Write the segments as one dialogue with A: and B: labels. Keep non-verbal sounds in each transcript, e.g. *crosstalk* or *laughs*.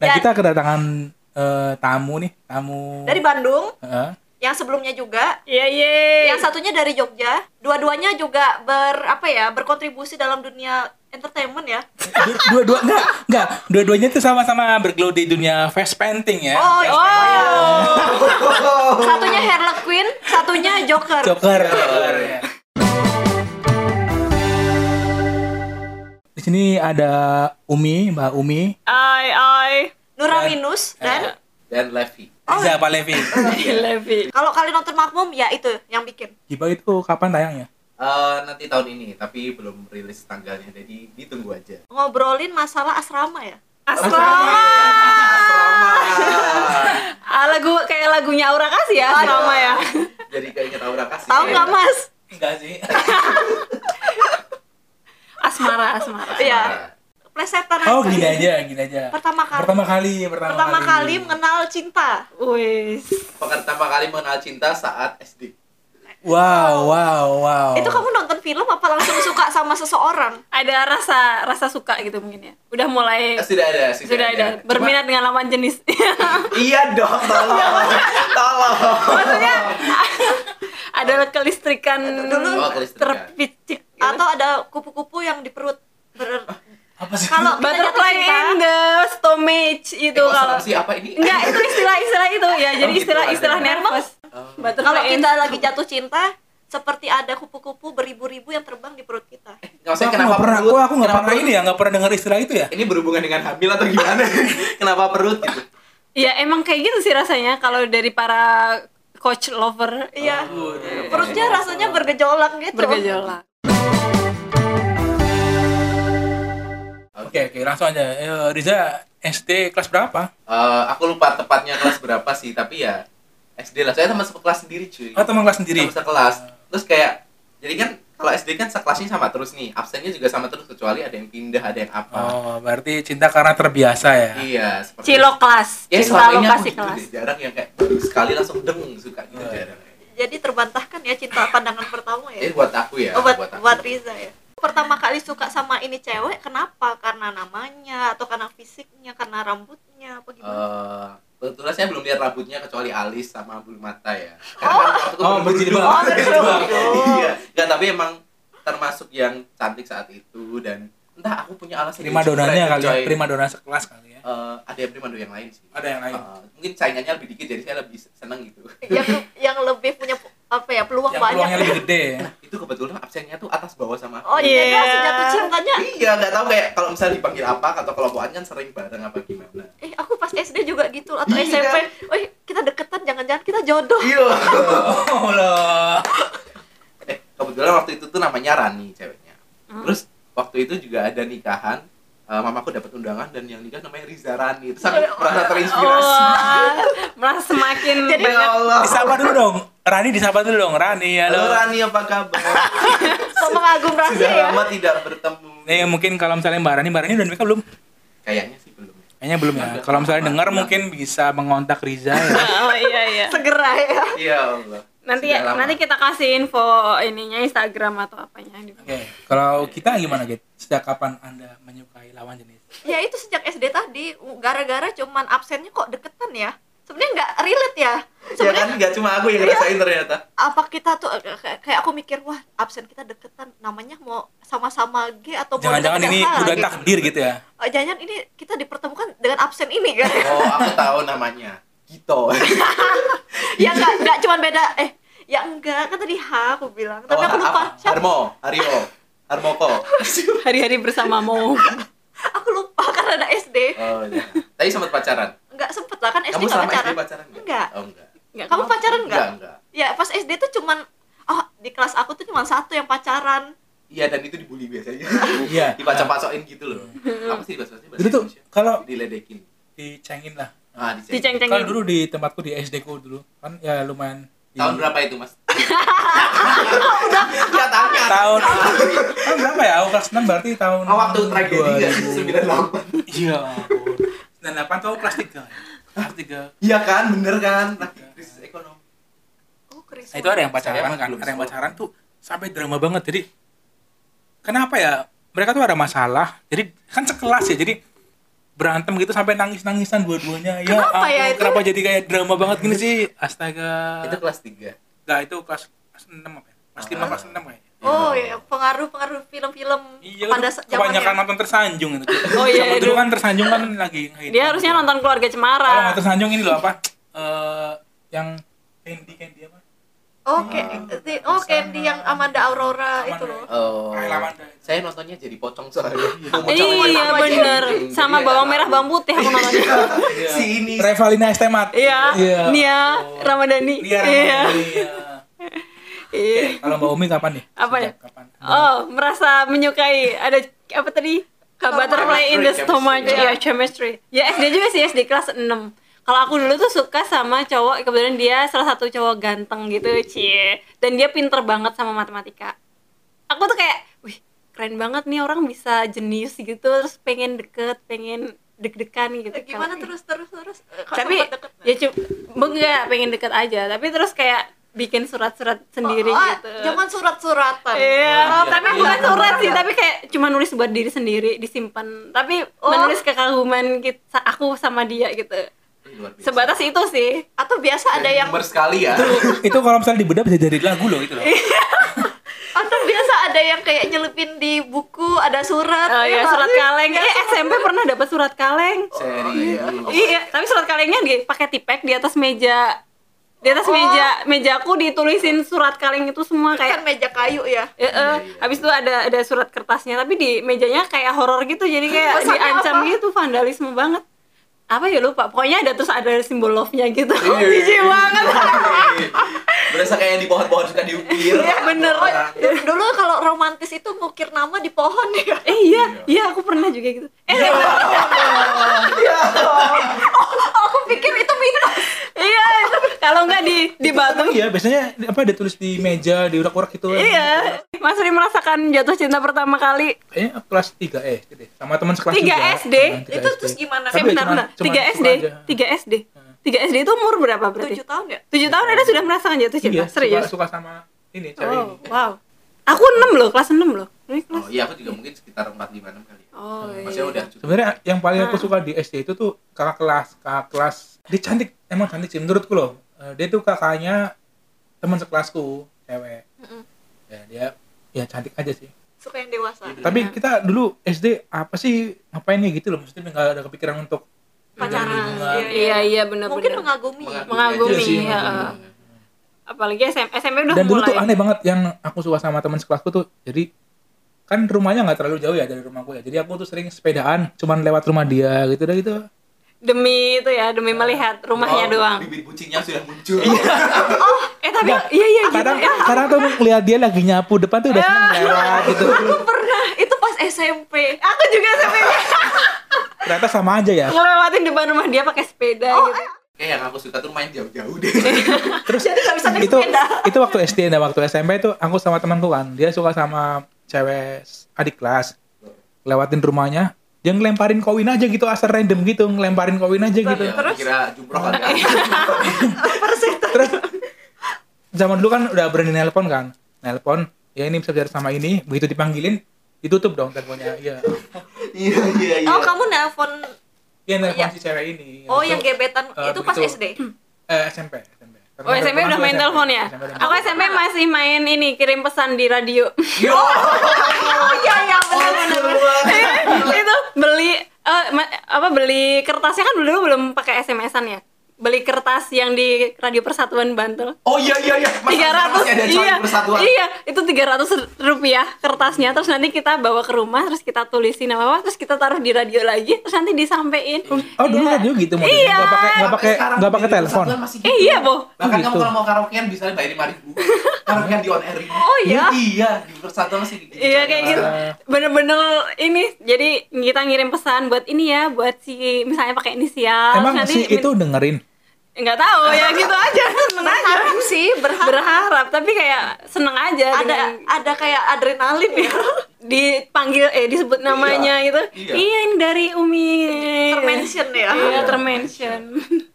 A: Nah
B: Dan-
A: kita kedatangan eh, tamu nih, tamu. eh,
B: Dari Bandung,
A: Heeh.
B: yang sebelumnya juga,
C: Iya, iya.
B: yang satunya dari Jogja. Dua-duanya juga ber apa ya, berkontribusi dalam dunia entertainment ya.
A: Du- dua-dua enggak, enggak. Dua-duanya tuh sama-sama bergelut di dunia face painting ya.
B: Oh,
A: Face
B: oh. Satunya Harlequin, satunya Joker.
A: Joker. ya. Di sini ada Umi, Mbak Umi.
C: Ai, ai.
B: Nuraminus dan
D: dan Levi.
B: Oh,
A: Riza
B: iya.
A: Pak Levi.
D: Iya.
C: Levi.
B: kalau kalian nonton Makmum ya itu yang bikin.
A: Giba itu kapan tayangnya?
D: Eh, nanti tahun ini, tapi belum rilis tanggalnya, jadi ditunggu aja.
B: Ngobrolin masalah asrama ya.
C: Asrama.
D: Asrama.
C: Ah, lagu kayak lagunya Aura kasih ya, asrama ya.
D: jadi kayaknya tahu kasih.
B: Tahu nggak Mas?
A: Enggak sih.
C: Asmara, asmara.
B: Iya. Plesetan
A: Oh,
B: aja.
A: gini aja, gini aja.
B: Pertama kali.
A: Pertama kali, pertama,
B: Pertama kali mengenal cinta.
C: Wis.
D: Pertama kali mengenal cinta saat SD.
A: Wow, wow, wow.
B: Itu kamu nonton film apa langsung suka sama seseorang?
C: Ada rasa rasa suka gitu mungkin ya. Udah mulai
D: Eh, sudah ada, sudah,
C: sudah ada
D: Iya. Cuma-
C: berminat dengan lawan
D: *laughs*
C: jenis.
D: iya dong, tolong. tolong. *laughs*
C: ada kelistrikan
D: Dulu- Oh,
C: terpicik.
B: Atau ada kupu-kupu yang di perut? Ber-
A: apa sih?
B: Kalau kita jatuh
C: butterfly
B: cinta,
C: in the stomach itu
D: Itu
C: kalau
D: ya. si apa ini?
C: enggak itu istilah-istilah itu ya jadi
D: gitu
C: istilah-istilah
D: ada.
C: nervous
D: Oh.
C: butterfly
B: kalau
C: in-
B: kita lagi jatuh cinta, seperti ada kupu-kupu beribu-ribu yang terbang di perut kita.
D: Nggak usah
A: Aku
D: kenapa
A: nggak pernah,
D: perut?
A: aku, aku nggak
D: Kenapa
A: pernah
D: perut?
A: ini ya, nggak pernah dengar istilah itu ya.
D: Ini berhubungan dengan hamil atau gimana? *laughs* kenapa perut gitu?
C: ya emang kayak gitu sih rasanya kalau dari para coach lover
B: Iya. Perutnya rasanya bergejolak gitu.
C: bergejolak
A: Oke, oke, langsung aja. Eh, Riza SD kelas berapa?
D: Eh, aku lupa tepatnya kelas berapa sih, tapi ya SD lah. Saya teman sekelas sendiri, cuy.
A: Oh, teman kelas sendiri.
D: Sama sekelas. Terus kayak jadi kan kalau SD kan sekelasnya sama terus nih, absennya juga sama terus kecuali ada yang pindah, ada yang apa.
A: Oh, berarti cinta karena terbiasa ya.
D: Iya, seperti
C: cilok kelas
D: Ya
C: cinta
D: selama ini aku
C: lokasi
D: gitu
C: kelas
D: deh, jarang yang kayak baru sekali langsung deng suka
A: Oh,
D: gitu
A: iya.
D: jarang.
B: Jadi terbantahkan ya cinta pandangan pertama ya.
D: Ini buat aku ya,
B: Oh, buat,
D: buat aku.
B: buat Riza ya. Pertama kali suka sama ini cewek, kenapa? Karena namanya, atau karena fisiknya, karena rambutnya, apa gimana?
D: Eh, kebetulan saya belum lihat rambutnya kecuali alis sama bulu mata ya. Karena waktu itu
A: Oh,
D: belum
A: berjilbab.
D: duduk.
B: Oh, berjilbab.
D: Iya, enggak tapi emang termasuk yang cantik saat itu dan entah aku punya alasan
A: Prima donanya kali ya, prima dona sekelas kali ya.
D: Eh, ada yang prima dona yang lain sih.
A: Ada yang lain.
D: Eh, mungkin saingannya lebih dikit jadi saya lebih seneng gitu. *laughs*
B: yang yang lebih punya apa ya peluang
A: Yang
B: banyak
A: peluangnya lebih gede ya.
D: itu kebetulan absennya tuh atas bawah sama aku.
B: oh iya
C: Iya.
B: langsung jatuh cintanya
D: Iya, nggak tahu kayak kalau misalnya dipanggil apa atau kelompokan kan sering bareng apa gimana.
B: *laughs* eh aku pas SD juga gitu atau
D: Iya.
B: SMP woi kita deketan jangan-jangan kita jodoh
D: Iya.
A: Oh, loh.
D: eh, kebetulan waktu itu tuh namanya Rani ceweknya.
B: Hmm.
D: Terus waktu itu juga ada nikahan, eh, mamaku dapat undangan dan yang nikah namanya Riza Rani. Terus aku
B: Oh,
D: merasa terinspirasi. Iya.
C: Wah, merasa Oh, semakin
B: Jadi-
D: Ya *laughs*
C: banyak
D: Allah.
A: Disapa dulu dong. Rani disapa dulu dong. Rani,
D: Halo
A: halo.
D: Rani, apa
B: *laughs*
D: kabar?
B: ngomong agum
D: Sudah
B: rahasia ya
D: lama tidak bertemu.
A: Nih Eh, mungkin kalau misalnya Mbak Rani, Mbak Rani udah nikah belum?
D: Kayaknya sih belum.
A: Kayaknya belum ya. Kalau misalnya dengar mungkin bisa mengontak Riza
C: *laughs*
A: ya.
C: oh iya iya
B: segera ya
D: Ya Allah.
C: nanti
D: Sudah lama. Iya
C: nanti kita kasih info ininya Instagram atau apanya di-
A: Oke, kalau kita gimana, Git? Sejak kapan Anda menyukai lawan jenis?
B: ya itu sejak SD tadi gara-gara cuman absennya kok deketan ya sebenarnya nggak relate ya
D: Ya
B: sebenarnya Iya.
D: kan nggak cuma aku yang ngerasain ternyata.
B: apa kita tuh eh, kayak- kayak aku mikir wah absen kita deketan namanya mau sama-sama G atau mau
A: Jangan-jangan
B: deket-deket
A: ini
B: hal
A: udah
B: gitu.
A: takdir gitu ya.
B: Eh, jangan ini kita dipertemukan dengan absen ini
D: *laughs*
B: kan
D: Oh, aku tahu namanya. Gito.
B: ya nggak nggak cuman beda eh ya enggak kan tadi H aku bilang *laughs* tapi
D: Oh,
B: aku lupa
D: apa?
B: siapa
D: Harmo, Hario, Harmoko.
B: *laughs*
C: hari-hari bersamamu
B: aku lupa *laughs* karena ada SD
D: Oh, iya. Tadi sempat pacaran.
B: nggak sempet lah kan SD
D: Kamu
B: nggak
D: sama
B: pacaran
D: SD pacaran nggak?
B: Enggak.
D: Oh, enggak.
C: Nggak
B: kamu
C: apa-apa.
B: pacaran nggak
D: Enggak, enggak.
B: ya pas SD tuh cuman oh di kelas aku tuh cuma satu yang pacaran
D: Iya, dan itu dibully biasanya. *laughs*
A: Iya.
D: Dipacok-pacokin gitu loh. Apa sih bahasa bahasa
A: Dulu tuh
D: Indonesia?
A: kalau
D: diledekin.
A: dicengin lah.
D: Ah, dicek.
C: diceng-cengin
A: Kalau Kan dulu di tempatku di SD ku dulu kan ya lumayan di-
D: Tahun berapa
B: *laughs*
D: itu, Mas? Udah, tanya.
A: Tahun tahun berapa ya? Aku kelas 6 berarti tahun
D: Oh, waktu tragedi nggak?
A: 2000.
D: 98.
A: Iya. ampun. 98 tuh aku kelas 3. Kelas
D: Iya kan, bener kan? Lagi krisis ekonomi.
B: oh
A: 3.
B: keris
A: Nah, itu ada yang
D: Saya
A: pacaran
D: masih
A: kan?
D: belum
A: Ada yang
D: sekolah.
A: pacaran tuh sampai drama banget. Jadi kenapa ya? Mereka tuh ada masalah. Jadi kan sekelas ya. Jadi berantem gitu sampai nangis nangisan dua-duanya ya
C: Kenapa ya
A: ampun,
C: itu?
A: kenapa jadi kayak drama banget gini sih astaga
D: Ah. itu kelas 3
A: nggak itu kelas kelas enam apa ya kelas lima kelas enam kayaknya
B: Oh ya, pengaruh-pengaruh film-film
A: Iya,
B: pada
A: lu
B: sa-
A: kebanyakan
B: zamannya.
A: nonton tersanjung itu.
C: ya? Oh, iya,
A: Zaman
C: iya,
A: dulu
C: dulu.
A: kan tersanjung kan lagi nge-hit.
C: Dia harusnya nonton keluarga
A: Kalau nggak
C: Cemara.
A: tersanjung ini loh apa? Eh yang Candy Candy apa?
B: Oke, eh, oh Candy yang Amanda Aurora
A: Hmm. Amanda.
B: itu loh.
D: Oh,
A: Kayak Lamanda.
D: saya nontonnya jadi pocong *laughs* soalnya. Pocong
C: Iya
D: sama
C: bener.
D: jengking.
C: Sama
D: Iya.
C: bawang merah bawang putih aku nonton.
D: Si ini.
A: Revalina Estemat.
C: Iya. Nia Ramadhani.
A: Nia
C: Iya.
A: Ramadhani, Iya.
C: Iya.
A: Kalau Mbak Umi kapan nih?
C: Apa
A: Sejak
C: ya?
A: Kapan?
C: Oh, merasa menyukai ada apa tadi? Ka- Butterfly in the
D: Chemistry,
C: stomach,
B: Iya.
D: chemistry.
C: ya chemistry. Ya SD juga sih SD kelas 6 Kalau aku dulu tuh suka sama cowok, kebetulan dia salah satu cowok ganteng gitu, cie. Dan dia pinter banget sama matematika. Aku tuh kayak, wih keren banget nih orang bisa jenius gitu, terus pengen deket, pengen deg-degan gitu.
B: Eh, Gimana
C: Kalau-
B: terus terus terus? Eh, kok
C: Tapi
B: sempet deket nggak?
C: ya cuma enggak pengen deket aja, tapi terus kayak bikin surat-surat sendiri
B: Oh, oh,
C: gitu.
B: Jangan surat-suratan.
C: Iya,
D: Oh, iya.
C: tapi
D: Iya.
C: bukan surat sih, tapi kayak cuma nulis buat diri sendiri disimpan. Tapi
B: Oh.
C: menulis kekaguman kita, aku sama dia gitu.
D: Luar biasa.
C: Sebatas itu Iya. sih.
B: Atau biasa ada
A: Iya,
B: yang
D: Boomer sekali ya.
A: itu kalau misalnya dibedah bisa jadi lagu loh itu loh.
C: Iya.
B: atau biasa ada yang kayak nyelipin di buku ada surat. Iya, Oh.
C: Oh ya
B: nggak
C: surat
B: sih?
C: kaleng. Eh SMP pernah dapat surat kaleng.
D: Serius.
C: Iya, tapi surat kalengnya dipakai tipek di atas meja. Di atas
B: Oh.
C: meja mejaku ditulisin surat kaleng itu semua
B: Kan
C: kayak
B: meja kayu ya.
C: Eh, eh. habis itu ada ada surat kertasnya tapi di mejanya kayak horor gitu jadi kayak
B: Pesannya
C: diancam
B: apa?
C: gitu vandalisme banget apa ya lupa pokoknya ada terus ada simbol love nya gitu
D: Iya.
C: jijik banget *laughs*
D: Berasa kayak yang di pohon-pohon suka diukir.
C: Iya, bener.
D: Orang.
B: Dulu, Oh, dulu kalau romantis itu ngukir nama di pohon ya.
C: eh iya iya aku pernah juga gitu eh
A: Iya.
C: *laughs*
B: Aku pikir itu mitos.
C: iya itu kalau nggak di di batu
A: Iya, biasanya apa ditulis di meja, di urak-urak gitu.
C: iya Mas Ri merasakan jatuh cinta pertama kali
A: Kayaknya kelas 3 SD deh. Sama teman sekelas
C: 3
A: juga.
C: SD?
A: Teman tiga
B: Itu
A: SD.
B: terus gimana?
A: Tapi ya
C: eh bentar
A: cuman-
C: bentar
A: cuman
C: 3 SD
A: suka aja.
C: 3 SD 3 SD itu umur berapa berarti
B: 7 tahun ya?
C: 7 tahun ada sudah merasakan jatuh
A: Iya,
C: cinta
A: suka,
C: serius
A: suka sama ini cewek
C: Oh,
A: ini.
C: wow aku 6 loh kelas 6 loh Ini kelas
D: Oh iya, aku juga mungkin sekitar 4 5 6 kali. ya.
C: oh
D: Maksudnya udah cukup.
A: Sebenarnya yang paling aku suka di SD itu tuh kakak kelas, kakak kelas. Dia cantik, emang cantik sih menurutku loh. Eh, Dia tuh kakaknya teman sekelasku, cewek. Ya, dia ya cantik aja sih.
B: Suka yang dewasa.
A: Tapi kita dulu SD apa sih ngapain ya gitu loh. Maksudnya nggak ada kepikiran untuk
B: Pacaran.
A: hubungan.
B: Iya,
C: Iya iya benar
B: Mungkin
C: benar.
B: mengagumi.
C: Mengagumi,
D: aja sih,
A: iya.
D: mengagumi.
C: Apalagi SM, SMP udah
A: Dan dulu
C: mulai.
A: tuh aneh banget yang aku suka sama teman sekelasku tuh. Jadi kan rumahnya nggak terlalu jauh ya dari rumahku ya. Jadi aku tuh sering sepedaan cuman lewat rumah dia gitu dah gitu.
C: Demi itu ya, demi melihat rumahnya
D: Oh,
C: doang.
D: Bibit bucinya sudah muncul.
C: Eh tapi iya iya gitu.
A: Oh, Nah, Kadang
C: ya.
A: kadang tuh ah, ngeliat dia lagi nyapu depan tuh
B: Iya.
A: udah seneng lewat gitu.
B: Aku pernah, itu pas SMP.
C: Aku juga SMP
A: *laughs* Ternyata sama aja ya.
C: ngelewatin depan rumah dia pakai sepeda
A: Oh, iya.
C: gitu.
D: Kayak yang aku suka tuh main jauh-jauh deh.
C: Iya,
A: Terus itu itu waktu SD dan waktu SMP itu aku sama temanku kan. Dia suka sama cewek adik kelas. Lewatin rumahnya, dia ngelemparin koin aja gitu asal random gitu, ngelemparin koin aja gitu.
D: Ya, aku kira jumroh kali. ya.
C: Iya.
A: Terus zaman dulu kan udah berani nelpon kan. Nelpon, ya ini bisa bicara sama ini, begitu dipanggilin ditutup dong teleponnya. Iya.
D: Iya, iya, iya.
B: Oh, kamu nelpon
A: Iya nelpon
B: Iya.
A: si cewek ini.
B: Oh,
A: Gitu.
B: yang gebetan
A: Eh,
B: itu pas
A: begitu.
B: SD.
A: eh, SMP, SMP. Karena
C: Oh SMP udah
A: temanku
C: main
A: SMP.
C: telepon ya?
A: SMP udah main
C: Aku SMP masih main ini kirim pesan di radio.
D: Yo.
B: Oh iya iya benar benar.
C: *laughs* itu beli eh, ma- apa beli kertasnya kan dulu belum pakai SMS-an ya. Beli kertas yang di Radio Persatuan Bantul.
D: Oh iya iya iya. Mas,
C: tiga ratus
D: masih ada coy
C: iya
D: persatuan.
C: iya itu tiga ratus rupiah kertasnya terus nanti kita bawa ke rumah terus kita tulisin apa apa terus kita taruh di radio lagi terus nanti disampein
A: Oh dulu
C: Iya.
A: radio gitu modelnya
C: Iya.
A: nggak pakai nggak
D: Sampai
A: pakai
D: sekarang
A: nggak pakai
D: di
A: telepon.
D: persatuan masih
C: eh
D: gitu.
C: iya boh
D: Bahkan
A: Oh,
D: kamu
A: gitu.
D: kalau mau karaokean bisa bayar lima
C: *laughs*
D: ribu. karaokean di on air. Oh
B: iya?
D: Iya di persatuan masih gitu.
C: Iya kayak gitu.
A: Nah.
C: Bener-bener ini jadi kita ngirim pesan buat ini ya, buat si misalnya pakai inisial.
A: Emang
C: terus nanti
A: si itu dengerin.
C: nggak tahu
B: *laughs*
C: ya gitu aja seneng aja.
B: Berharap sih, berharap.
C: Berharap tapi kayak seneng aja
B: Ada
C: dengan
B: ada kayak adrenalin ya.
C: dipanggil eh disebut namanya gitu.
D: Iya.
C: Iya ini dari Umi.
B: Termention ya.
C: Iya, termention.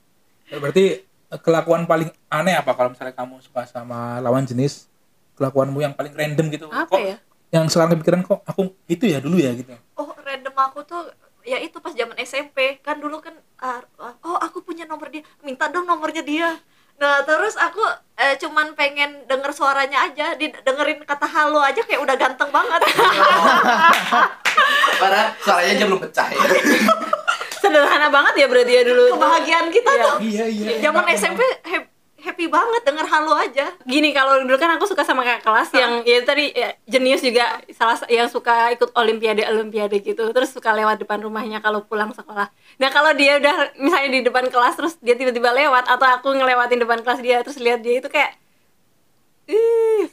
C: *laughs*
A: Berarti eh, kelakuan paling aneh apa kalau misalnya kamu suka sama lawan jenis? Kelakuanmu yang paling random gitu.
C: Apa
A: Kok
C: ya?
A: Yang sekarang kepikiran kok aku itu ya dulu ya gitu.
B: Oh, random aku tuh ya itu pas zaman SMP kan dulu kan ah, oh aku punya nomor dia minta dong nomornya dia nah terus aku eh, cuman pengen denger suaranya aja di- dengerin kata halo aja kayak udah ganteng banget
D: Karena suaranya aja belum pecah ya.
C: Sederhana banget ya berarti ya dulu. tuh.
B: kebahagiaan kita
C: Iya.
B: tuh
A: Iya, iya.
B: zaman
A: Enak,
B: SMP hap- happy banget denger halo aja
C: Gini kalau dulu kan aku suka sama kakak kelas yang ya tadi ya, jenius juga salah sa- yang suka ikut olimpiade olimpiade gitu terus suka lewat depan rumahnya kalau pulang sekolah. Nah kalau dia udah misalnya di depan kelas terus dia tiba-tiba lewat atau aku ngelewatin depan kelas dia terus lihat dia itu kayak ih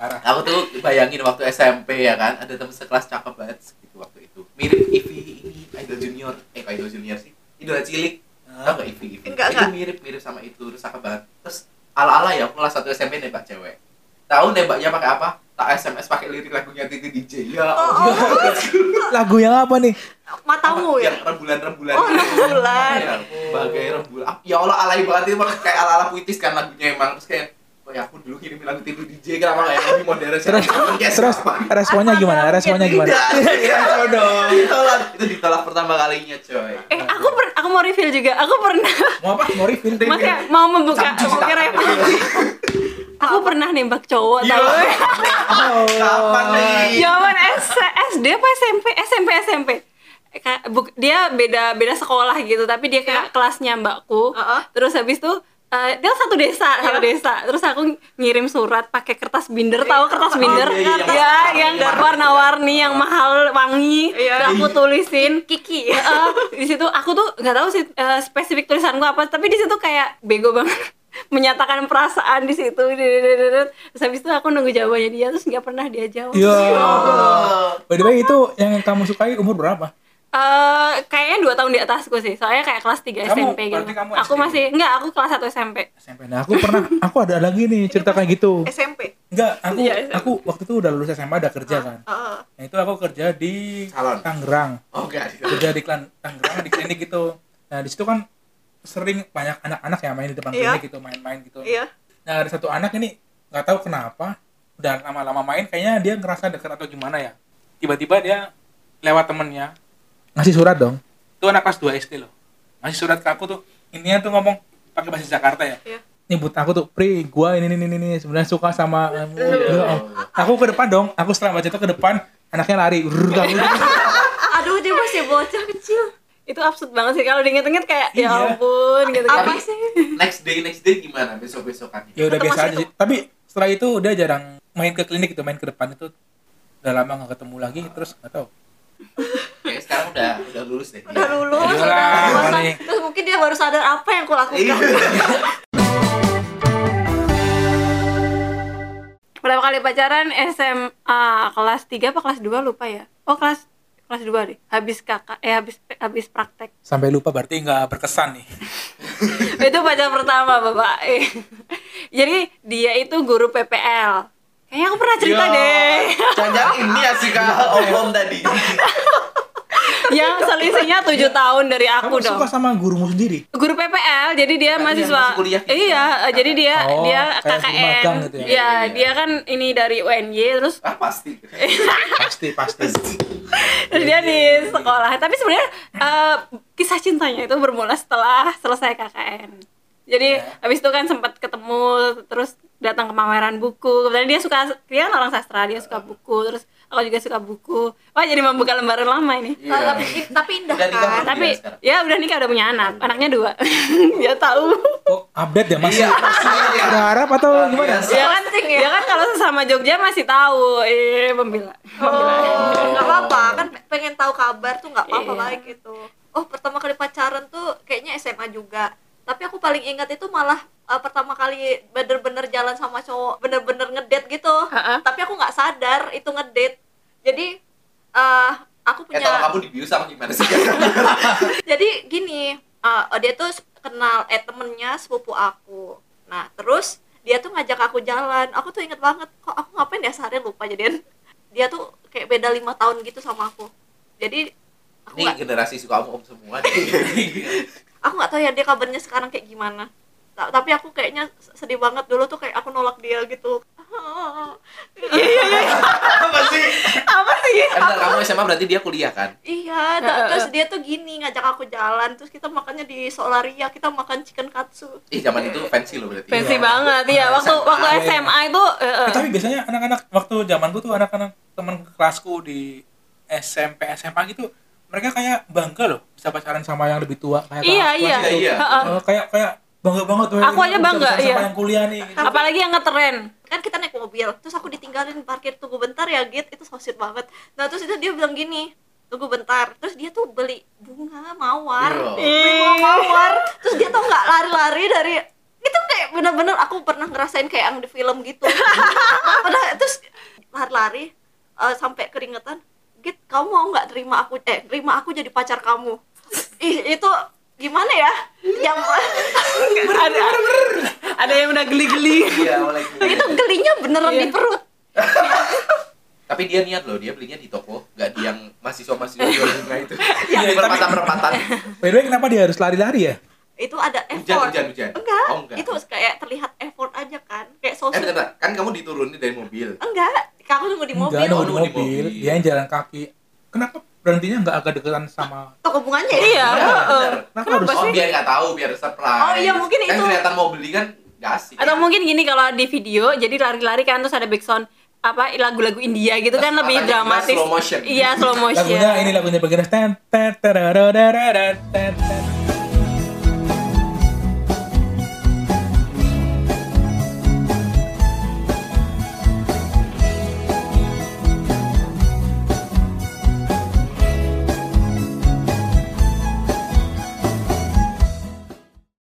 A: Parah.
D: Aku tuh bayangin waktu SMP ya kan, ada teman sekelas cakep banget gitu waktu itu. Mirip Ivy ini Idol Junior. Eh kok Idol Junior sih? Idol cilik. Tau gak Ivy Ivy?
B: Enggak,
D: itu mirip-mirip sama itu, terus cakep banget. Terus ala-ala ya, aku kelas satu SMP nembak cewek. Tahu nembaknya pakai apa? Tak SMS pakai lirik lagunya Titi DJ. Ya.
B: oh,
D: Allah.
B: oh,
A: Lagu yang apa nih?
B: matamu
D: Apa?
B: ya
D: Yang rembulan-rembulan.
B: oh rembulan
D: Ya, bagai rembulan. Ah, Ya Allah alay banget itu emang kayak ala-ala puitis kan lagunya emang terus kayak Oh ya aku dulu kirimin lagu tidur DJ kenapa kayak lebih modern sih?
A: Terus,
D: Yes,
A: terus
D: apa?
A: responnya gimana? Responnya gimana? Iya,
D: Tidak, tidak dong. Ditolak. Itu ditolak pertama kalinya, coy.
C: eh aku per- aku mau reveal juga aku pernah
A: Mau apa? Mau refill?
C: Mas ya, mau membuka
D: Sambung
C: mau kira-
D: tangan.
C: aku pernah nembak cowok
D: Gila.
C: tahu Ya.
D: Kapan nih?
C: Jaman S- SD apa SMP? SMP SMP. Ka- buk- Dia beda beda sekolah gitu, tapi dia
D: Iya.
C: kayak kelasnya mbakku.
B: Heeh.
C: Terus habis itu eh, dia satu desa, satu
B: Iya.
C: desa. Terus aku ngirim surat pakai kertas binder, tahu kertas binder?
D: iya, iya, yang
C: ya, yang
D: warna-warni.
C: warna-warni, yang mahal, wangi.
B: Iya.
C: Terus aku tulisin
B: Kiki
C: Eh, di situ aku tuh nggak tahu sih eh, spesifik tulisan gua apa tapi di situ kayak bego banget *laughs* menyatakan perasaan di situ terus habis itu aku nunggu jawabannya dia terus nggak pernah dia jawab
A: Yo.
D: Oh.
A: By the way itu yang kamu sukai umur berapa?
C: Eh, kayaknya dua tahun di atasku sih soalnya kayak kelas
A: Kamu-
C: 3 SMP gitu
A: berarti kamu
C: aku
A: SD.
C: masih nggak aku kelas 1 SMP
A: SMP. Nah, aku pernah aku ada lagi nih cerita kayak gitu.
B: SMP
A: Enggak, aku
C: Iya, SMP.
A: aku waktu itu udah lulus SMA udah kerja kan.
B: Heeh.
A: Nah, itu aku kerja di
D: Salon.
A: Tangerang.
D: Oh, enggak.
A: Kerja di Klan- Tangerang di klinik gitu. Nah, di situ kan sering banyak anak-anak ya main di depan
B: Iya.
A: klinik gitu, main-main gitu.
B: iya
A: Nah, ada satu anak ini nggak tahu kenapa udah lama-lama main kayaknya dia ngerasa dekat atau gimana ya. Tiba-tiba dia lewat temennya ngasih surat dong. Itu anak kelas 2 SD loh. Ngasih surat ke aku tuh intinya tuh ngomong pakai bahasa Jakarta ya.
B: Iya.
A: Nyebut aku tuh, "Pri, gua ini ini ini, ini sebenarnya suka sama kamu." Ya, oh. Aku ke depan dong. Aku setelah baca itu ke depan, anaknya lari. Rrrr, kamu.
B: Ah, aduh dia masih bocah kecil
C: itu absurd banget sih kalau diinget-inget kayak
A: Iya.
C: ya ampun gitu
B: apa
C: kan
B: sih
D: Next day, next day gimana besok-besokannya?
A: ya udah
B: Ketemu
A: biasa aja
B: situ.
A: sih. Tapi setelah itu dia jarang main ke klinik itu main ke depan itu udah lama nggak ketemu lagi terus nggak tahu
D: Kayak sekarang udah udah lulus deh.
B: udah lulus
A: Iya.
B: udah dewasa
A: Nih.
B: terus mungkin dia baru sadar apa yang aku
D: Iya.
B: lakukan
C: pertama kali pacaran SMA kelas 3 apa kelas 2 lupa ya oh kelas kelas 2 deh habis kakak eh habis habis praktek *laughs*
A: sampai lupa berarti nggak berkesan nih
C: itu pacar pertama bapak *laughs* Eh, jadi dia itu guru PPL kayaknya aku pernah cerita
A: Iya. *laughs*
D: Yo,
C: deh
D: Jangan ini ya si kak Om tadi.
C: yang selisihnya tujuh tahun dari
A: kamu
C: aku dong
A: suka sama gurumu sendiri
C: guru PPL jadi dia
D: Kakaknya
C: mahasiswa
D: Iya, masih kuliah gitu
C: iya
D: kan?
C: jadi dia
A: Oh,
C: dia
A: kayak guru
C: KKN
A: magang gitu ya?
C: Iya,
D: Iya, iya.
C: dia kan ini dari UNY terus
D: Ah pasti.
A: pasti pasti
C: *laughs*
D: iya,
C: terus dia di sekolah tapi sebenarnya eh, kisah cintanya itu bermula setelah selesai KKN
A: Iya.
C: jadi habis itu kan sempat ketemu terus datang ke pameran buku kemudian dia suka dia kan orang sastra dia suka buku terus aku juga suka buku wah jadi membuka lembaran lama ini
D: Iya.
B: tapi tapi indah
D: Udah nikah
B: kan
D: belum?
C: tapi
D: Iya, sekarang.
C: ya udah nikah udah punya anak anaknya dua *laughs* dia tahu
A: kok update ya masih
D: Iya, masih, iya.
A: berharap atau
D: Ah,
A: Oh, gimana
D: biasa.
C: ya kan ya kan kalau sesama Jogja masih tahu eh pembela
B: nggak apa-apa kan pe- pengen tahu kabar tuh nggak apa-apa
C: Iya.
B: baik gitu oh pertama kali pacaran tuh kayaknya SMA juga tapi aku paling ingat itu malah eh, pertama kali bener-bener jalan sama cowok bener-bener ngedate gitu
C: Ha-ha.
B: tapi aku nggak sadar itu ngedate jadi eh aku
C: Iya.
D: Eh
B: punya
D: kalau kamu dibius sama gimana sih?
B: jadi gini eh, dia tuh kenal eh temennya sepupu aku nah terus dia tuh ngajak aku jalan aku tuh inget banget kok aku ngapain ya seharian lupa jadian *laughs* dia tuh kayak beda lima tahun gitu sama aku jadi aku
D: Ini
B: nggak
D: generasi suka om om semua.
C: *laughs*
D: nih.
B: aku nggak tahu ya dia kabarnya sekarang kayak gimana Ta- tapi aku kayaknya sedih banget dulu tuh kayak aku nolak dia gitu
D: Apa sih?
C: apa sih
D: Eh, bentar, kamu SMA berarti dia kuliah kan?
B: *laughs* Iya,
C: Eh, eh,
B: ta- terus
C: eh.
B: dia tuh gini ngajak aku jalan, terus kita makannya di Solaria, kita makan chicken katsu.
D: Ih, zaman itu fancy loh berarti.
C: pensi
A: Iya.
C: banget ya waktu
D: SMA.
C: waktu SMA itu eh, eh.
A: Eh, tapi biasanya anak-anak waktu zamanku tuh anak-anak teman kelasku di SMP SMA gitu mereka kayak bangga loh bisa pacaran sama yang lebih tua kayak
C: iya
A: kelas-
C: iya
A: kelas itu.
D: iya.
C: Heeh.
A: Eh, kayak kayak bangga banget weh,
C: Aku
A: ini
C: aja
A: bisa
C: bangga,
A: pacaran sama
C: iya.
A: yang kuliah nih gitu.
C: apalagi yang ngetren
B: Kan kita naik mobil, terus aku ditinggalin parkir tunggu bentar ya, Git. Itu sosir banget. Nah, terus itu dia bilang gini, tunggu bentar. Terus dia tuh beli bunga mawar.
D: Iya.
B: Beli bunga mawar. Terus dia tuh nggak lari-lari dari itu kayak bener-bener aku pernah ngerasain kayak yang di film gitu. *laughs* pernah terus lari-lari eh, sampai keringetan. Git, kamu mau nggak terima aku eh terima aku jadi pacar kamu? *laughs* Ih, itu gimana ya? Yang *laughs*
C: ada ada yang udah geli-geli
D: Iya, mulai kuliah.
B: itu gelinya beneran
C: Iya.
B: di perut
D: Tapi dia niat loh, dia belinya di toko, nggak di yang mahasiswa-mahasiswa di Indonesia itu.
A: Iya,
D: Di
A: tapi-
D: perempatan-perempatan.
A: by the way kenapa dia harus lari-lari ya
B: itu ada
D: Hujan,
B: effort
D: hujan, hujan.
B: enggak,
D: Oh, enggak.
B: itu kayak terlihat effort aja kan kayak
D: Eh,
B: sosok
D: bentar, bentar. kan kamu diturunin dari mobil.
B: enggak kamu nunggu di mobil
A: nggak nunggu di
D: Oh, di
A: mobil,
D: mobil.
A: dia yang jalan kaki kenapa berhentinya nggak agak deketan sama
B: toko bunganya ya
C: iya eh,
D: Iya,
C: eh.
D: bener.
A: kenapa,
C: Kenapa
A: harus
D: Oh, biar nggak tahu, biar surprise.
B: Oh, iya, mungkin
D: kan
B: itu.
D: kelihatan mau beli kan nggak asik.
C: atau mungkin gini kalau di video jadi lari-lari kan terus ada background apa lagu-lagu India gitu kan
D: Terus
C: lebih
D: matanya kita
C: dramatis
D: slow motion.
C: iya slow motion
A: lagunya ini lagunya begini ten ten terararararan, ten ten